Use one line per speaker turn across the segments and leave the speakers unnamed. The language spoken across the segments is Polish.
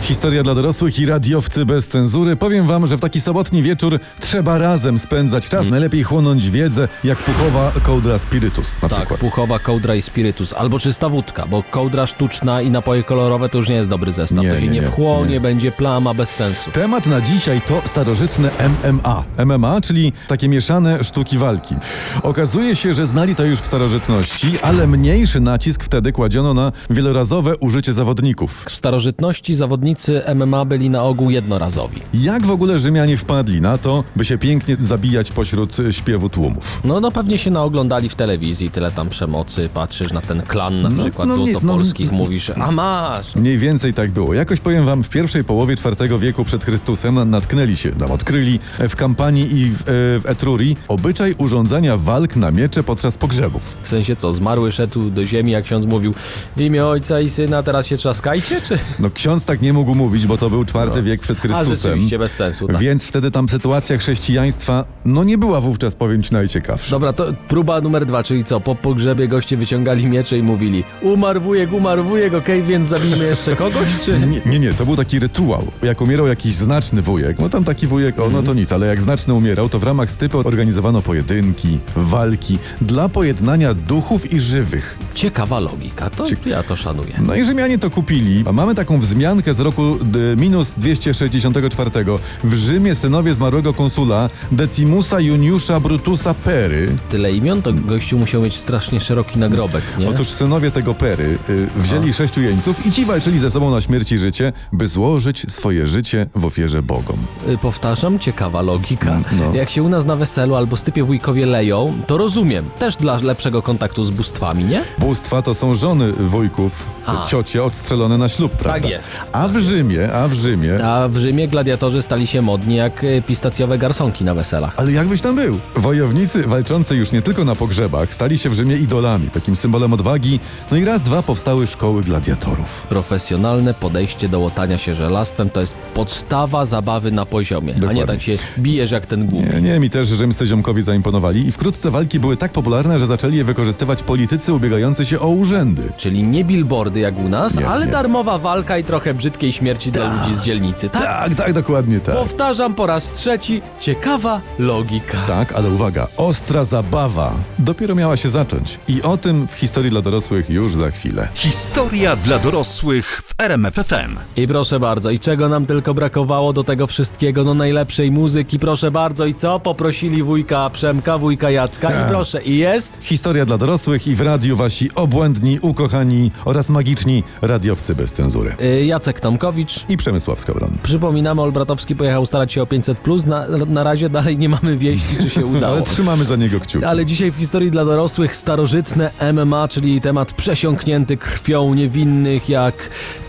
Historia dla dorosłych i radiowcy bez cenzury. Powiem wam, że w taki sobotni wieczór trzeba razem spędzać czas, najlepiej chłonąć wiedzę, jak puchowa kołdra spirytus na
Tak,
przykład.
puchowa, kołdra i spirytus. Albo czysta wódka, bo kołdra sztuczna i napoje kolorowe to już nie jest dobry zestaw.
Nie,
to się
nie,
nie,
nie,
wchłonie,
nie.
będzie plama bez sensu.
Temat na dzisiaj to starożytne MMA. MMA, czyli takie mieszane sztuki walki. Okazuje się, że znali to już w starożytności, ale mniejszy nacisk wtedy kładziono na wielorazowe użycie zawodników.
W starożytności zawodnicy MMA byli na ogół jednorazowi.
Jak w ogóle Rzymianie wpadli na to, by się pięknie zabijać pośród y, śpiewu tłumów?
No, no pewnie się naoglądali w telewizji, tyle tam przemocy, patrzysz na ten klan na
No,
przykład
no nie, no,
złotopolskich, mówisz, a masz!
Mniej więcej tak było. Jakoś powiem wam, w pierwszej połowie IV wieku przed Chrystusem natknęli się, nam odkryli w kampanii i w, e, w Etrurii obyczaj urządzania walk na miecze podczas pogrzebów.
W sensie co, zmarły szedł do ziemi, jak ksiądz mówił, w imię ojca i syna, teraz się trzaskajcie, czy?
No ksiądz tak nie mógł mówić, bo to był IV wiek przed
No. A
Chrystusem.
rzeczywiście, bez sensu, tak.
Więc wtedy tam sytuacja chrześcijaństwa, no nie była wówczas, powiem ci, najciekawsza.
Dobra, to próba numer dwa, czyli co? Po pogrzebie goście wyciągali miecze i mówili Umarł wujek, umarł wujek, okej, więc zabijmy jeszcze kogoś, czy...
Nie, nie, nie, to był taki rytuał. Jak umierał jakiś znaczny wujek, no tam taki wujek, o no
Mhm.
to nic, ale jak znaczny umierał, to w ramach stypy organizowano pojedynki, walki dla pojednania duchów i żywych.
Ciekawa logika, to ja to szanuję.
No i Rzymianie to kupili, a mamy taką wzmiankę z roku d- minus 264. W Rzymie synowie zmarłego konsula Decimusa Juniusza Brutusa Pery,
Tyle imion, to gościu musiał mieć strasznie szeroki nagrobek, nie?
Otóż synowie tego Pery y, wzięli sześciu jeńców i ci walczyli ze sobą na śmierć i życie, by złożyć swoje życie w ofierze bogom.
Y, Powtarzam, ciekawa logika.
no.
Jak się u nas na weselu albo stypie wujkowie leją, to rozumiem. Też dla lepszego kontaktu z bóstwami, nie?
Bóstwa to są żony wujków,
A. Tak
ciocie odstrzelone na ślub, prawda?
jest.
A w Rzymie, a w Rzymie...
A w Rzymie gladiatorzy stali się modni jak y, pistacjowe garsonki na weselach.
Ale jakbyś tam był? Wojownicy walczący już nie tylko na pogrzebach stali się w Rzymie idolami, takim symbolem odwagi, no i raz, dwa powstały szkoły gladiatorów.
Profesjonalne podejście do łatania się żelastwem to jest podstawa zabawy na poziomie, a nie
Dokładnie.
tak się bijesz jak ten głupi.
Nie, nie, mi też rzymscy ziomkowi zaimponowali i wkrótce walki były tak popularne, że zaczęli je wykorzystywać politycy ubiegający się o urzędy.
Czyli nie billboardy jak u nas,
Nie,
ale
nie.
darmowa walka i trochę brzydkiej śmierci dla ludzi z dzielnicy, tak?
Tak, tak, dokładnie tak.
Powtarzam po raz trzeci, ciekawa logika.
Tak, ale uwaga, ostra zabawa dopiero miała się zacząć. I o tym w historii dla dorosłych już za chwilę.
Historia dla dorosłych w RMFFM.
I proszę bardzo, i czego nam tylko brakowało do tego wszystkiego, no najlepszej muzyki, proszę bardzo, i co? Poprosili wujka Przemka, wujka Jacka
Tak.
i proszę, i jest?
Historia dla dorosłych i w radiu wasi obłędni, ukochani oraz magiczni radiowcy bez cenzury.
Y, Jacek Tomkowicz,
I Przemysław Skowron.
Przypominamy, Olbratowski pojechał starać się o 500, plus. na, na razie dalej nie mamy wieści, czy się udało.
Ale trzymamy za niego kciuki.
Ale dzisiaj w historii dla dorosłych starożytne MMA, czyli temat przesiąknięty krwią niewinnych jak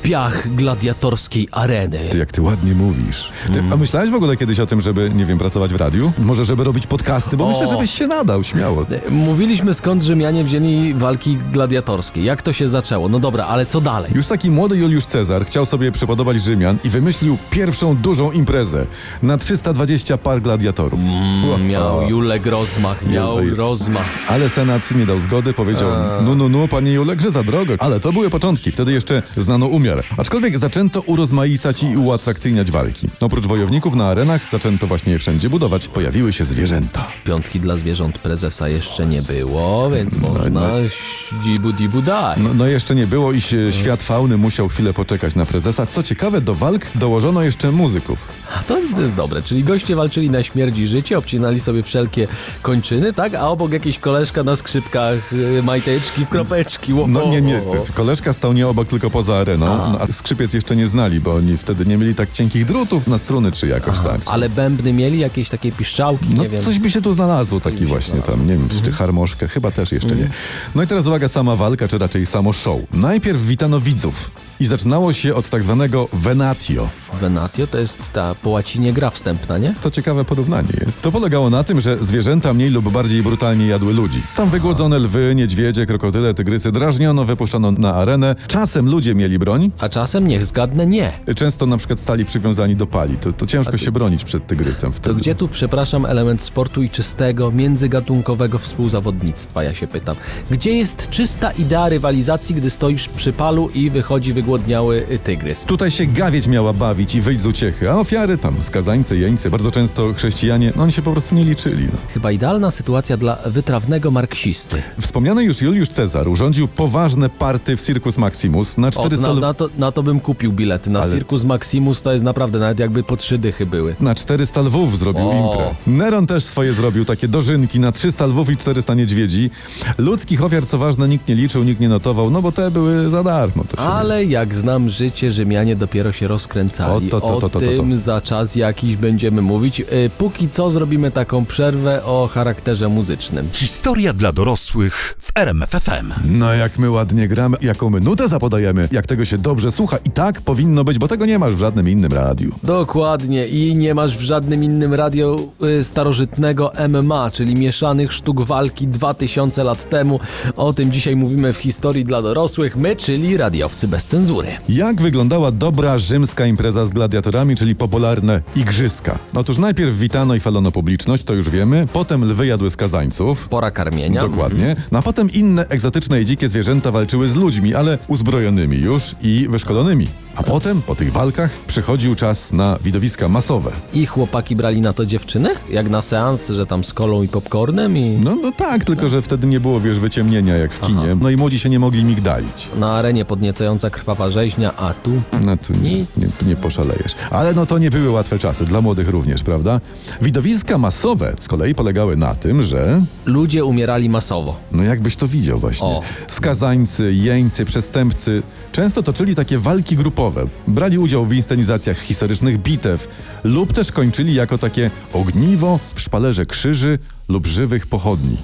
piach gladiatorskiej areny.
Ty, jak ty ładnie mówisz. Ty,
Mm.
A myślałeś w ogóle kiedyś o tym, żeby, nie wiem, pracować w radiu? Może, żeby robić podcasty? Bo
O.
myślę, żebyś się nadał, śmiało.
Mówiliśmy skąd Rzymianie wzięli walki gladiatorskie, jak to się zaczęło. No dobra, ale co dalej?
Już taki młody Juliusz Cezar chciał sobie przypodobać Rzymian i wymyślił pierwszą dużą imprezę na 320 par gladiatorów.
Mm, miał Julek rozmach, miał
Julek.
rozmach.
Ale Senat nie dał zgody, powiedział no, no, no, panie Julek, że za drogo. Ale to były początki, wtedy jeszcze znano umiar. Aczkolwiek zaczęto urozmaicać i uatrakcyjniać walki. Oprócz wojowników na arenach zaczęto właśnie je wszędzie budować. Pojawiły się zwierzęta.
Piątki dla zwierząt prezesa jeszcze nie było, więc można dibu dibu daj.
No, no jeszcze nie było i się świat fauny musiał chwilę poczekać na prezesa. Co ciekawe, do walk dołożono jeszcze muzyków.
A to jest dobre, czyli goście walczyli na śmierć i życie, obcinali sobie wszelkie kończyny, tak? A obok jakiś koleżka na skrzypkach y, majteczki w kropeczki. Ło,
No nie, nie,
ło,
ty- ty- koleżka stał nie obok, tylko poza areną, no, a skrzypiec jeszcze nie znali, bo oni wtedy nie mieli tak cienkich drutów na struny czy jakoś tak.
ło. Ale bębny mieli jakieś takie piszczałki,
No
nie wiem. Mhm.
coś by się tu znalazło taki właśnie tam, nie wiem, czy harmoszkę, chyba też jeszcze nie. No i teraz uwaga, sama walka, czy raczej samo show. Najpierw witano widzów. i zaczynało się od tak zwanego venatio.
Venatio to jest ta po łacinie gra wstępna, nie?
To ciekawe porównanie jest. To polegało na tym, że zwierzęta mniej lub bardziej brutalnie jadły ludzi. Tam wygłodzone lwy, niedźwiedzie, krokodyle, tygrysy drażniono, wypuszczano na arenę. Czasem ludzie mieli broń,
A czasem, niech zgadnę, nie.
często na przykład stali przywiązani do pali. To, to ciężko się bronić przed tygrysem
To
wtedy.
gdzie tu, przepraszam, element sportu i czystego, międzygatunkowego współzawodnictwa, ja się pytam. Gdzie jest czysta idea rywalizacji, gdy stoisz przy palu i wychodzi wygłodniały y, tygrys?
Tutaj się gawieć miała bawić i wyjść z uciechy, a ofiary tam, skazańcy, jeńcy, bardzo często chrześcijanie, no oni się po prostu nie liczyli. No.
Chyba idealna sytuacja dla wytrawnego marksisty.
Wspomniany już Juliusz Cezar urządził poważne party w Circus Maximus na
O,
400...
na, na, to, na to bym kupił bilety. Na
Ale-
Circus Maximus to jest naprawdę, nawet jakby po trzy dychy były.
Na 400 lwów zrobił
O.
imprę. Neron też swoje zrobił, takie dożynki na 300 lwów i 400 niedźwiedzi. Ludzkich ofiar, co ważne, nikt nie liczył, nikt nie notował, no bo te były za darmo. To się
Ale jak znam życie, Rzymianie dopiero się rozkręcali.
O, to, to, to, to, to, to.
tym za czas jakiś będziemy mówić. Y, Póki co zrobimy taką przerwę o charakterze muzycznym.
Historia dla dorosłych w RMFFM.
No jak my ładnie gramy, jaką my nutę zapodajemy, jak tego się dobrze słucha i tak powinno być, bo tego nie masz w żadnym innym radiu.
Dokładnie i nie masz w żadnym innym radio y, starożytnego MMA, czyli mieszanych sztuk walki 2000 lat temu. O tym dzisiaj mówimy w historii dla dorosłych, my, czyli radiowcy bez cenzury.
Jak wyglądała dobra rzymska impreza z gladiatorami, czyli popularne igrzyska? Otóż najpierw witano i chwalono publiczność, to już wiemy, potem lwy jadły skazańców.
Pora karmienia.
Dokładnie. No A potem inne egzotyczne i dzikie zwierzęta walczyły z ludźmi, ale uzbrojonymi już i wyszkolonymi. A potem, po tych walkach, przychodził czas na widowiska masowe.
I chłopaki brali na to dziewczyny? Jak na seans, że tam z kolą i popcornem i...
No, no tak, tylko że wtedy nie było, wiesz, wyciemnienia jak w kinie. No i młodzi się nie mogli migdalić.
Na arenie podniecająca krwawa rzeźnia, a tu...
No tu nie, nie,
Nic.
nie poszalejesz. Ale no to nie były łatwe czasy, dla młodych również, prawda? Widowiska masowe z kolei polegały na tym, że...
Ludzie umierali masowo.
No jakbyś to widział właśnie.
O.
Skazańcy, jeńcy, przestępcy często toczyli takie walki grupowe. Brali udział w inscenizacjach historycznych bitew lub też kończyli jako takie ogniwo w szpalerze krzyży lub żywych pochodni.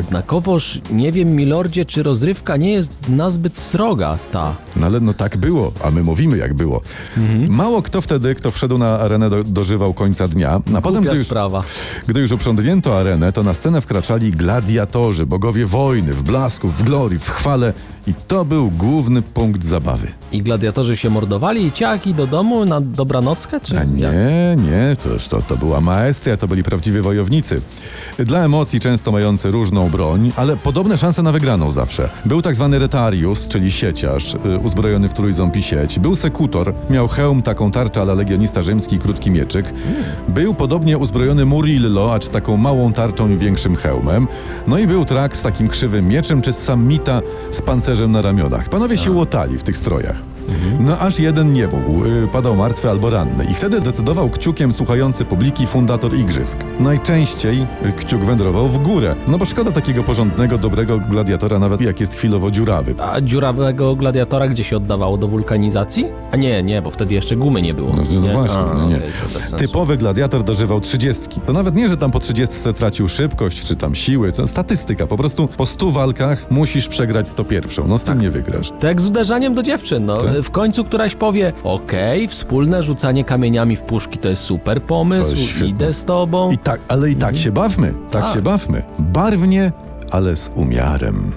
Jednakowoż nie wiem, milordzie, czy rozrywka nie jest nazbyt sroga ta.
No ale no tak było, a my mówimy jak było.
Mhm.
Mało kto wtedy, kto wszedł na arenę, do, dożywał końca dnia. A potem,
Głupia
gdy już,
sprawa.
gdy już uprzątnięto arenę, to na scenę wkraczali gladiatorzy, bogowie wojny, w blasku, w glorii, w chwale i to był główny punkt zabawy.
I gladiatorzy się mordowali i ciaki do domu na dobranockę, czy
A
jak?
nie, nie, cóż, to, to była maestria, to byli prawdziwi wojownicy. Dla emocji często mający różną broń, ale podobne szanse na wygraną zawsze. Był tak zwany retarius, czyli sieciarz, y, uzbrojony w trójząb i sieć. Był sekutor, miał hełm, taką tarczę ale legionista rzymski, i krótki mieczyk. Był podobnie uzbrojony murillo, acz taką małą tarczą i większym hełmem. No i był trak z takim krzywym mieczem, czy samita z pancerzem na ramionach. Panowie się łotali w tych strojach. No aż jeden nie mógł, y, padał martwy albo ranny i wtedy decydował kciukiem słuchający publiki fundator igrzysk. Najczęściej y, kciuk wędrował w górę, no bo szkoda takiego porządnego, dobrego gladiatora nawet jak jest chwilowo dziurawy.
A dziurawego gladiatora gdzie się oddawało? Do wulkanizacji? A nie, nie, bo wtedy jeszcze gumy nie było.
No, no
nie?
właśnie,
A,
no nie.
okej, to bez sensu.
Typowy gladiator dożywał trzydziestki. To nawet nie, że tam po trzydziestce tracił szybkość czy tam siły, to statystyka, po prostu po stu walkach musisz przegrać 101, no z tym nie wygrasz.
To jak Tak, z uderzaniem do dziewczyn, no.
Tak.
W końcu któraś powie, okej, wspólne rzucanie kamieniami w puszki to jest super pomysł,
To jest świetne.
idę z tobą.
I tak, ale i tak się bawmy, tak
Tak.
się bawmy. Barwnie, ale z umiarem.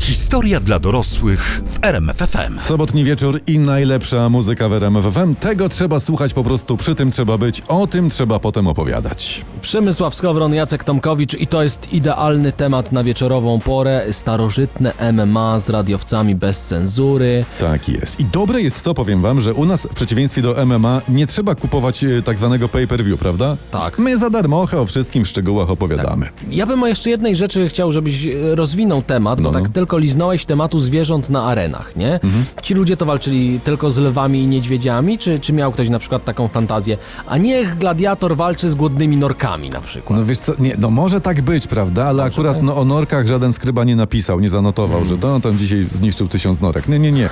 Historia dla dorosłych w RMFFM.
Sobotni wieczór i najlepsza muzyka w RMFFM. Tego trzeba słuchać po prostu, przy tym trzeba być, o tym trzeba potem opowiadać.
Przemysław Skowron, Jacek Tomkowicz i to jest idealny temat na wieczorową porę. Starożytne MMA z radiowcami bez cenzury.
Tak jest. I dobre jest to, powiem wam, że u nas w przeciwieństwie do MMA nie trzeba kupować e, tak zwanego pay-per-view, prawda?
Tak.
My za darmo o wszystkim w szczegółach opowiadamy.
Ja bym o jeszcze jednej rzeczy chciał, żebyś e, rozwinął temat,
No,
bo
no. Mhm.
tak tylko liznąłeś tematu zwierząt na arenach, nie? Ci ludzie to walczyli tylko z lwami i niedźwiedziami, czy, czy miał ktoś na przykład taką fantazję, a niech gladiator walczy z głodnymi norkami? orkami na przykład.
No wiesz co, nie, no może tak być, prawda? Ale akurat no, o norkach żaden skryba nie napisał, nie zanotował, że to on tam dzisiaj zniszczył tysiąc norek. Nie, nie, nie.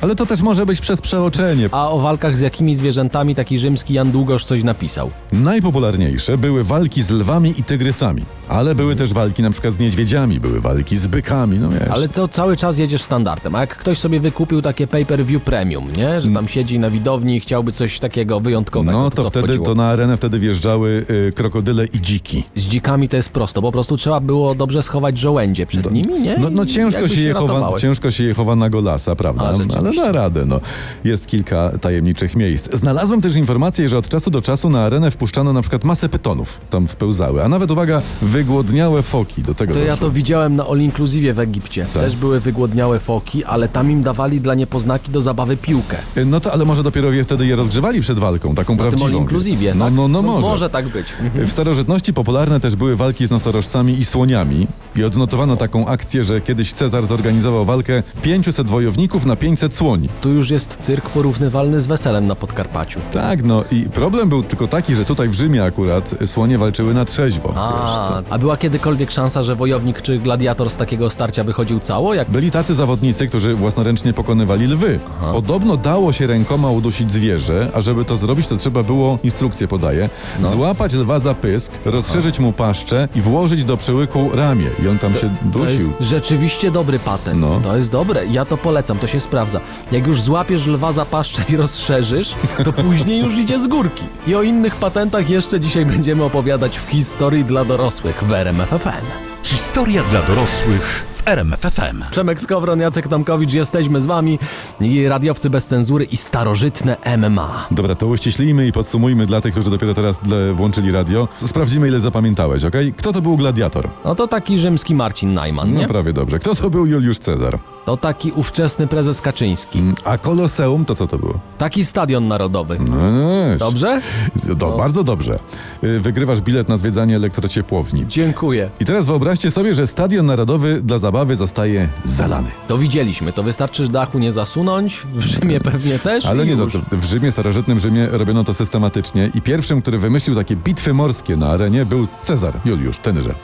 Ale to też może być przez przeoczenie.
A o walkach z jakimi zwierzętami taki rzymski Jan Długosz coś napisał?
Najpopularniejsze były walki z lwami i tygrysami, ale były też walki na przykład z niedźwiedziami, były walki z bykami, no wiesz.
Ale to cały czas jedziesz standardem. A jak ktoś sobie wykupił takie pay-per-view premium, nie? Że tam siedzi na widowni i chciałby coś takiego wyjątkowego.
Mm. No to
tak, co
wtedy,
wchodziło?
to na arenę wtedy wjeżdżały y, krokodyle i dziki.
Z dzikami to jest prosto, po prostu trzeba było dobrze schować żołędzie przed nimi, nie?
No, no
I
ciężko,
jakby
się je chowa,
ratowałeś.
ciężko się je chowa na golasa, prawda?
A, rzeczywiście.
Ale na radę, no. Jest kilka tajemniczych miejsc. Znalazłem też informację, że od czasu do czasu na arenę wpuszczano na przykład masę pytonów. Tam wpełzały, a nawet, uwaga, wygłodniałe foki do tego
To ja
doszło.
to widziałem na All Inclusive w Egipcie.
Tak.
Też były wygłodniałe foki, ale tam im dawali dla niepoznaki do zabawy piłkę.
Y, No to, ale może dopiero je wtedy je rozgrzewali przed walką, taką
Na tym
prawdziwą.
All Inclusive,
no,
tak?
no, no, może.
Może tak być. Mhm.
W starożytności popularne też były walki z nosorożcami i słoniami i odnotowano taką akcję, że kiedyś Cezar zorganizował walkę 500 wojowników na 500 słoni.
Tu już jest cyrk porównywalny z weselem na Podkarpaciu.
Tak, no i problem był tylko taki, że tutaj w Rzymie akurat słonie walczyły na trzeźwo. wiesz, tak. to-
A, a była kiedykolwiek szansa, że wojownik czy gladiator z takiego starcia wychodził cało? Jak
Byli tacy zawodnicy, którzy własnoręcznie pokonywali lwy. Podobno dało się rękoma udusić zwierzę, a żeby to zrobić, to trzeba było, instrukcję podaję,
No.
złapać lwa za pysk, rozszerzyć mu paszczę i włożyć do przełyku ramię. I on tam się
to jest
dusił.
rzeczywiście dobry patent.
No.
To jest dobre. Ja to polecam, to się sprawdza. Jak już złapiesz lwa za paszczę i rozszerzysz, to później już idzie z górki. I o innych patentach jeszcze dzisiaj będziemy opowiadać w historii dla dorosłych w RMFFM.
Historia dla dorosłych w RMFFM.
Przemek Skowron, Jacek Tomkowicz, jesteśmy z wami. I radiowcy bez cenzury i starożytne MMA.
Dobra, to uściślijmy i podsumujmy dla tych, którzy dopiero teraz dla, włączyli radio. Sprawdzimy, ile zapamiętałeś, okej? Kto to był gladiator?
No to taki rzymski Marcin Najman,
No
nie?
prawie dobrze. Kto to był Juliusz Cezar?
To taki ówczesny prezes Kaczyński.
A Koloseum to co to było?
Taki stadion narodowy.
Eee,
Dobrze?
Do, Bardzo dobrze. Y, Wygrywasz bilet na zwiedzanie elektrociepłowni.
Dziękuję.
I teraz wyobraźcie sobie, że Stadion Narodowy dla zabawy zostaje zalany.
To widzieliśmy, to wystarczy dachu nie zasunąć, w Rzymie pewnie też.
Ale
i
nie, no,
już.
to w Rzymie, starożytnym Rzymie robiono to systematycznie i pierwszym, który wymyślił takie bitwy morskie na arenie był Cezar Juliusz, tenże.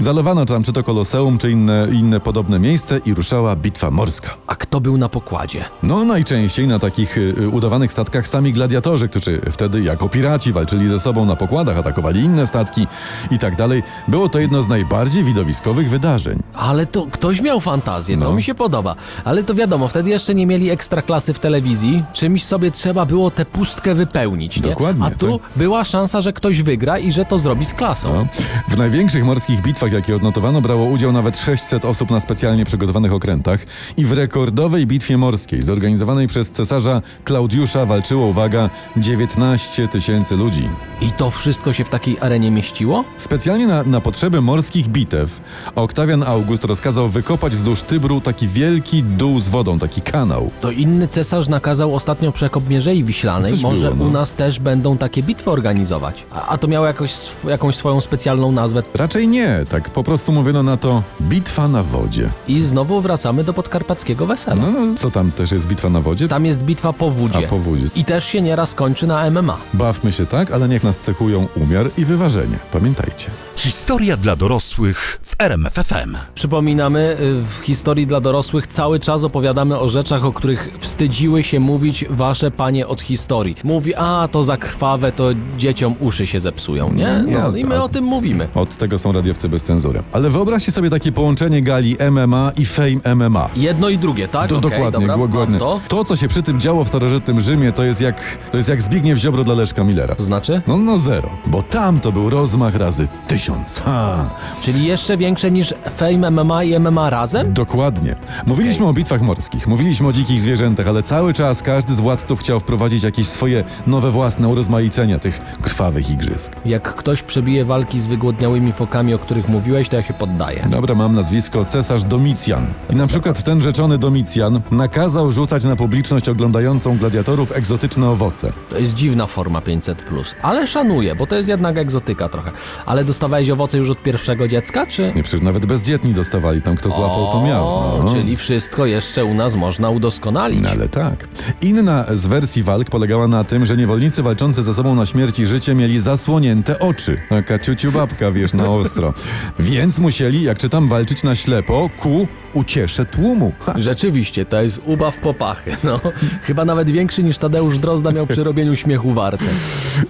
Zalowano tam czy to Koloseum, czy inne, inne podobne miejsce i ruszała bitwa morska.
A kto był na pokładzie?
No najczęściej na takich y, y, udawanych statkach sami gladiatorzy, którzy wtedy jako piraci walczyli ze sobą na pokładach, atakowali inne statki i tak dalej. Było to jedno z najbardziej widowiskowych wydarzeń.
Ale to ktoś miał fantazję, to
No.
mi się podoba. Ale to wiadomo, wtedy jeszcze nie mieli ekstraklasy w telewizji, czymś sobie trzeba było tę pustkę wypełnić, nie?
Dokładnie, tak.
A tu była szansa, że ktoś wygra i że to zrobi z klasą.
No. W największych morskich bitwach, jakie odnotowano, brało udział nawet 600 osób na specjalnie przygotowanych okrętach i w rekordowej bitwie morskiej zorganizowanej przez cesarza Klaudiusza walczyło, uwaga, 19 tysięcy ludzi.
I to wszystko się w takiej arenie mieściło?
Specjalnie na, na potrzeby morskich bitew Oktawian August rozkazał wykopać wzdłuż Tybru taki wielki dół z wodą, taki kanał.
To inny cesarz nakazał ostatnio przekop Mierzei Wiślanej.
Coś
Może
było, no.
u nas też będą takie bitwy organizować. A, a to miało jakoś, sw- jakąś swoją specjalną nazwę.
Raczej nie, tak po prostu mówiono na to bitwa na wodzie.
I znowu wracamy do podkarpackiego wesela.
No, no co tam też jest bitwa na wodzie?
Tam jest bitwa po
A
wódzie.
po wodzie.
I też się nieraz kończy na MMA.
Bawmy się tak, ale niech nas cechują umiar i wyważenie. Pamiętajcie.
Historia dla dorosłych w RMFFM.
Przypominamy, y, w historii dla dorosłych cały czas opowiadamy o rzeczach, o których wstydziły się mówić wasze panie od historii. Mówi, a to za krwawe, to dzieciom uszy się zepsują, nie?
Nie,
No, I my
a-
o tym mówimy.
Od tego są radiowcy bez cenzury. Ale wyobraźcie sobie takie połączenie gali MMA i Fame MMA.
Jedno i drugie, tak?
To
Okej,
dokładnie,
dobra,
gło-
mam
głodny.
To?
to, co się przy tym działo w starożytnym Rzymie, to jest jak, to jest jak Zbigniew Ziobro dla Leszka Millera.
to znaczy?
No, no zero, bo tam to był rozmach razy tysiąc. Ha.
Czyli jeszcze większe niż Fame MMA i MMA razem?
Dokładnie. Mówiliśmy o bitwach morskich, mówiliśmy o dzikich zwierzętach, ale cały czas każdy z władców chciał wprowadzić jakieś swoje nowe własne urozmaicenia tych krwawych igrzysk.
Jak ktoś przebije walki z wygłodniałymi fokami, o których mówiłeś, to ja się poddaję.
Dobra, mam nazwisko cesarz Domicjan. I na przykład ten rzeczony Domicjan nakazał rzucać na publiczność oglądającą gladiatorów egzotyczne owoce.
To jest dziwna forma 500, ale szanuję, bo to jest jednak egzotyka trochę. Ale dostawa dostawałeś owoce już od pierwszego dziecka, czy?
Nie, przecież nawet bezdzietni dostawali, tam kto złapał, to miał.
O,
No.
czyli wszystko jeszcze u nas można udoskonalić.
No ale tak. Inna z wersji walk polegała na tym, że niewolnicy walczący ze sobą na śmierć i życie mieli zasłonięte oczy. Taka ciuciu babka, wiesz, na ostro. Więc musieli, jak czytam, walczyć na ślepo ku uciesze tłumu. Ha.
Rzeczywiście, to jest ubaw popachy, no. Chyba nawet większy niż Tadeusz Drozda miał przy robieniu śmiechu wartym.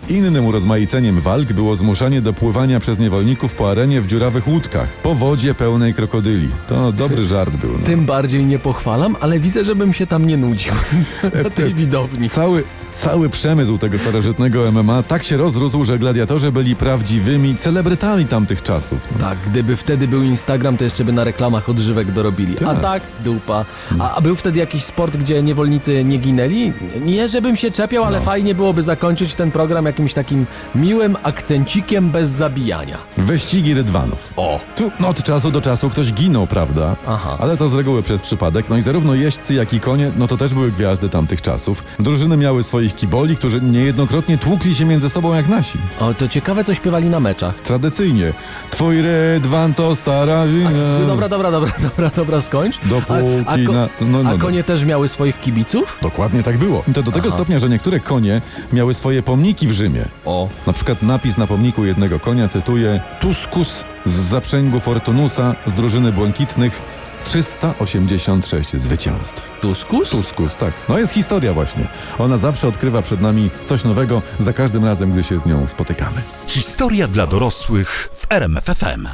Innym urozmaiceniem walk było zmuszanie do pływania przez niewolników po arenie w dziurawych łódkach, po wodzie pełnej krokodyli. To dobry żart był. No.
Tym bardziej nie pochwalam, ale widzę, żebym się tam nie nudził
E,
na tej widowni.
Cały, cały przemysł tego starożytnego MMA tak się rozrósł, że gladiatorzy byli prawdziwymi celebrytami tamtych czasów. No.
Tak, gdyby wtedy był Instagram, to jeszcze by na reklamach odżywek dorobili. A
Tak.
tak, dupa. A, a był wtedy jakiś sport, gdzie niewolnicy nie ginęli? Nie, żebym się czepiał,
No.
ale fajnie byłoby zakończyć ten program jakimś takim miłym akcencikiem bez zabijania.
Wyścigi rydwanów.
O.
Tu no, od czasu do czasu ktoś ginął, prawda?
Aha.
Ale to z reguły przez przypadek. No i zarówno jeźdźcy, jak i konie, no to też były gwiazdy tamtych czasów. Drużyny miały swoich kiboli, którzy niejednokrotnie tłukli się między sobą jak nasi.
O, to ciekawe, co śpiewali na meczach.
Tradycyjnie. Twój rydwan to stara
A,
wina.
c- dobra, dobra, dobra, dobra, dobra, skończ.
Dopóki
a, a, ko-
na- no, no,
a
no.
konie też miały swoich kibiców?
Dokładnie tak było. I to do tego stopnia, że niektóre konie miały swoje pomniki w Rzymie.
O.
Na przykład napis na pomniku jednego konia cytuje Tuskus z zaprzęgu Fortunusa z drużyny błękitnych 386 zwycięstw.
Tuskus?
Tuskus, tak. No jest historia właśnie. Ona zawsze odkrywa przed nami coś nowego za każdym razem, gdy się z nią spotykamy.
Historia dla dorosłych w RMFFM.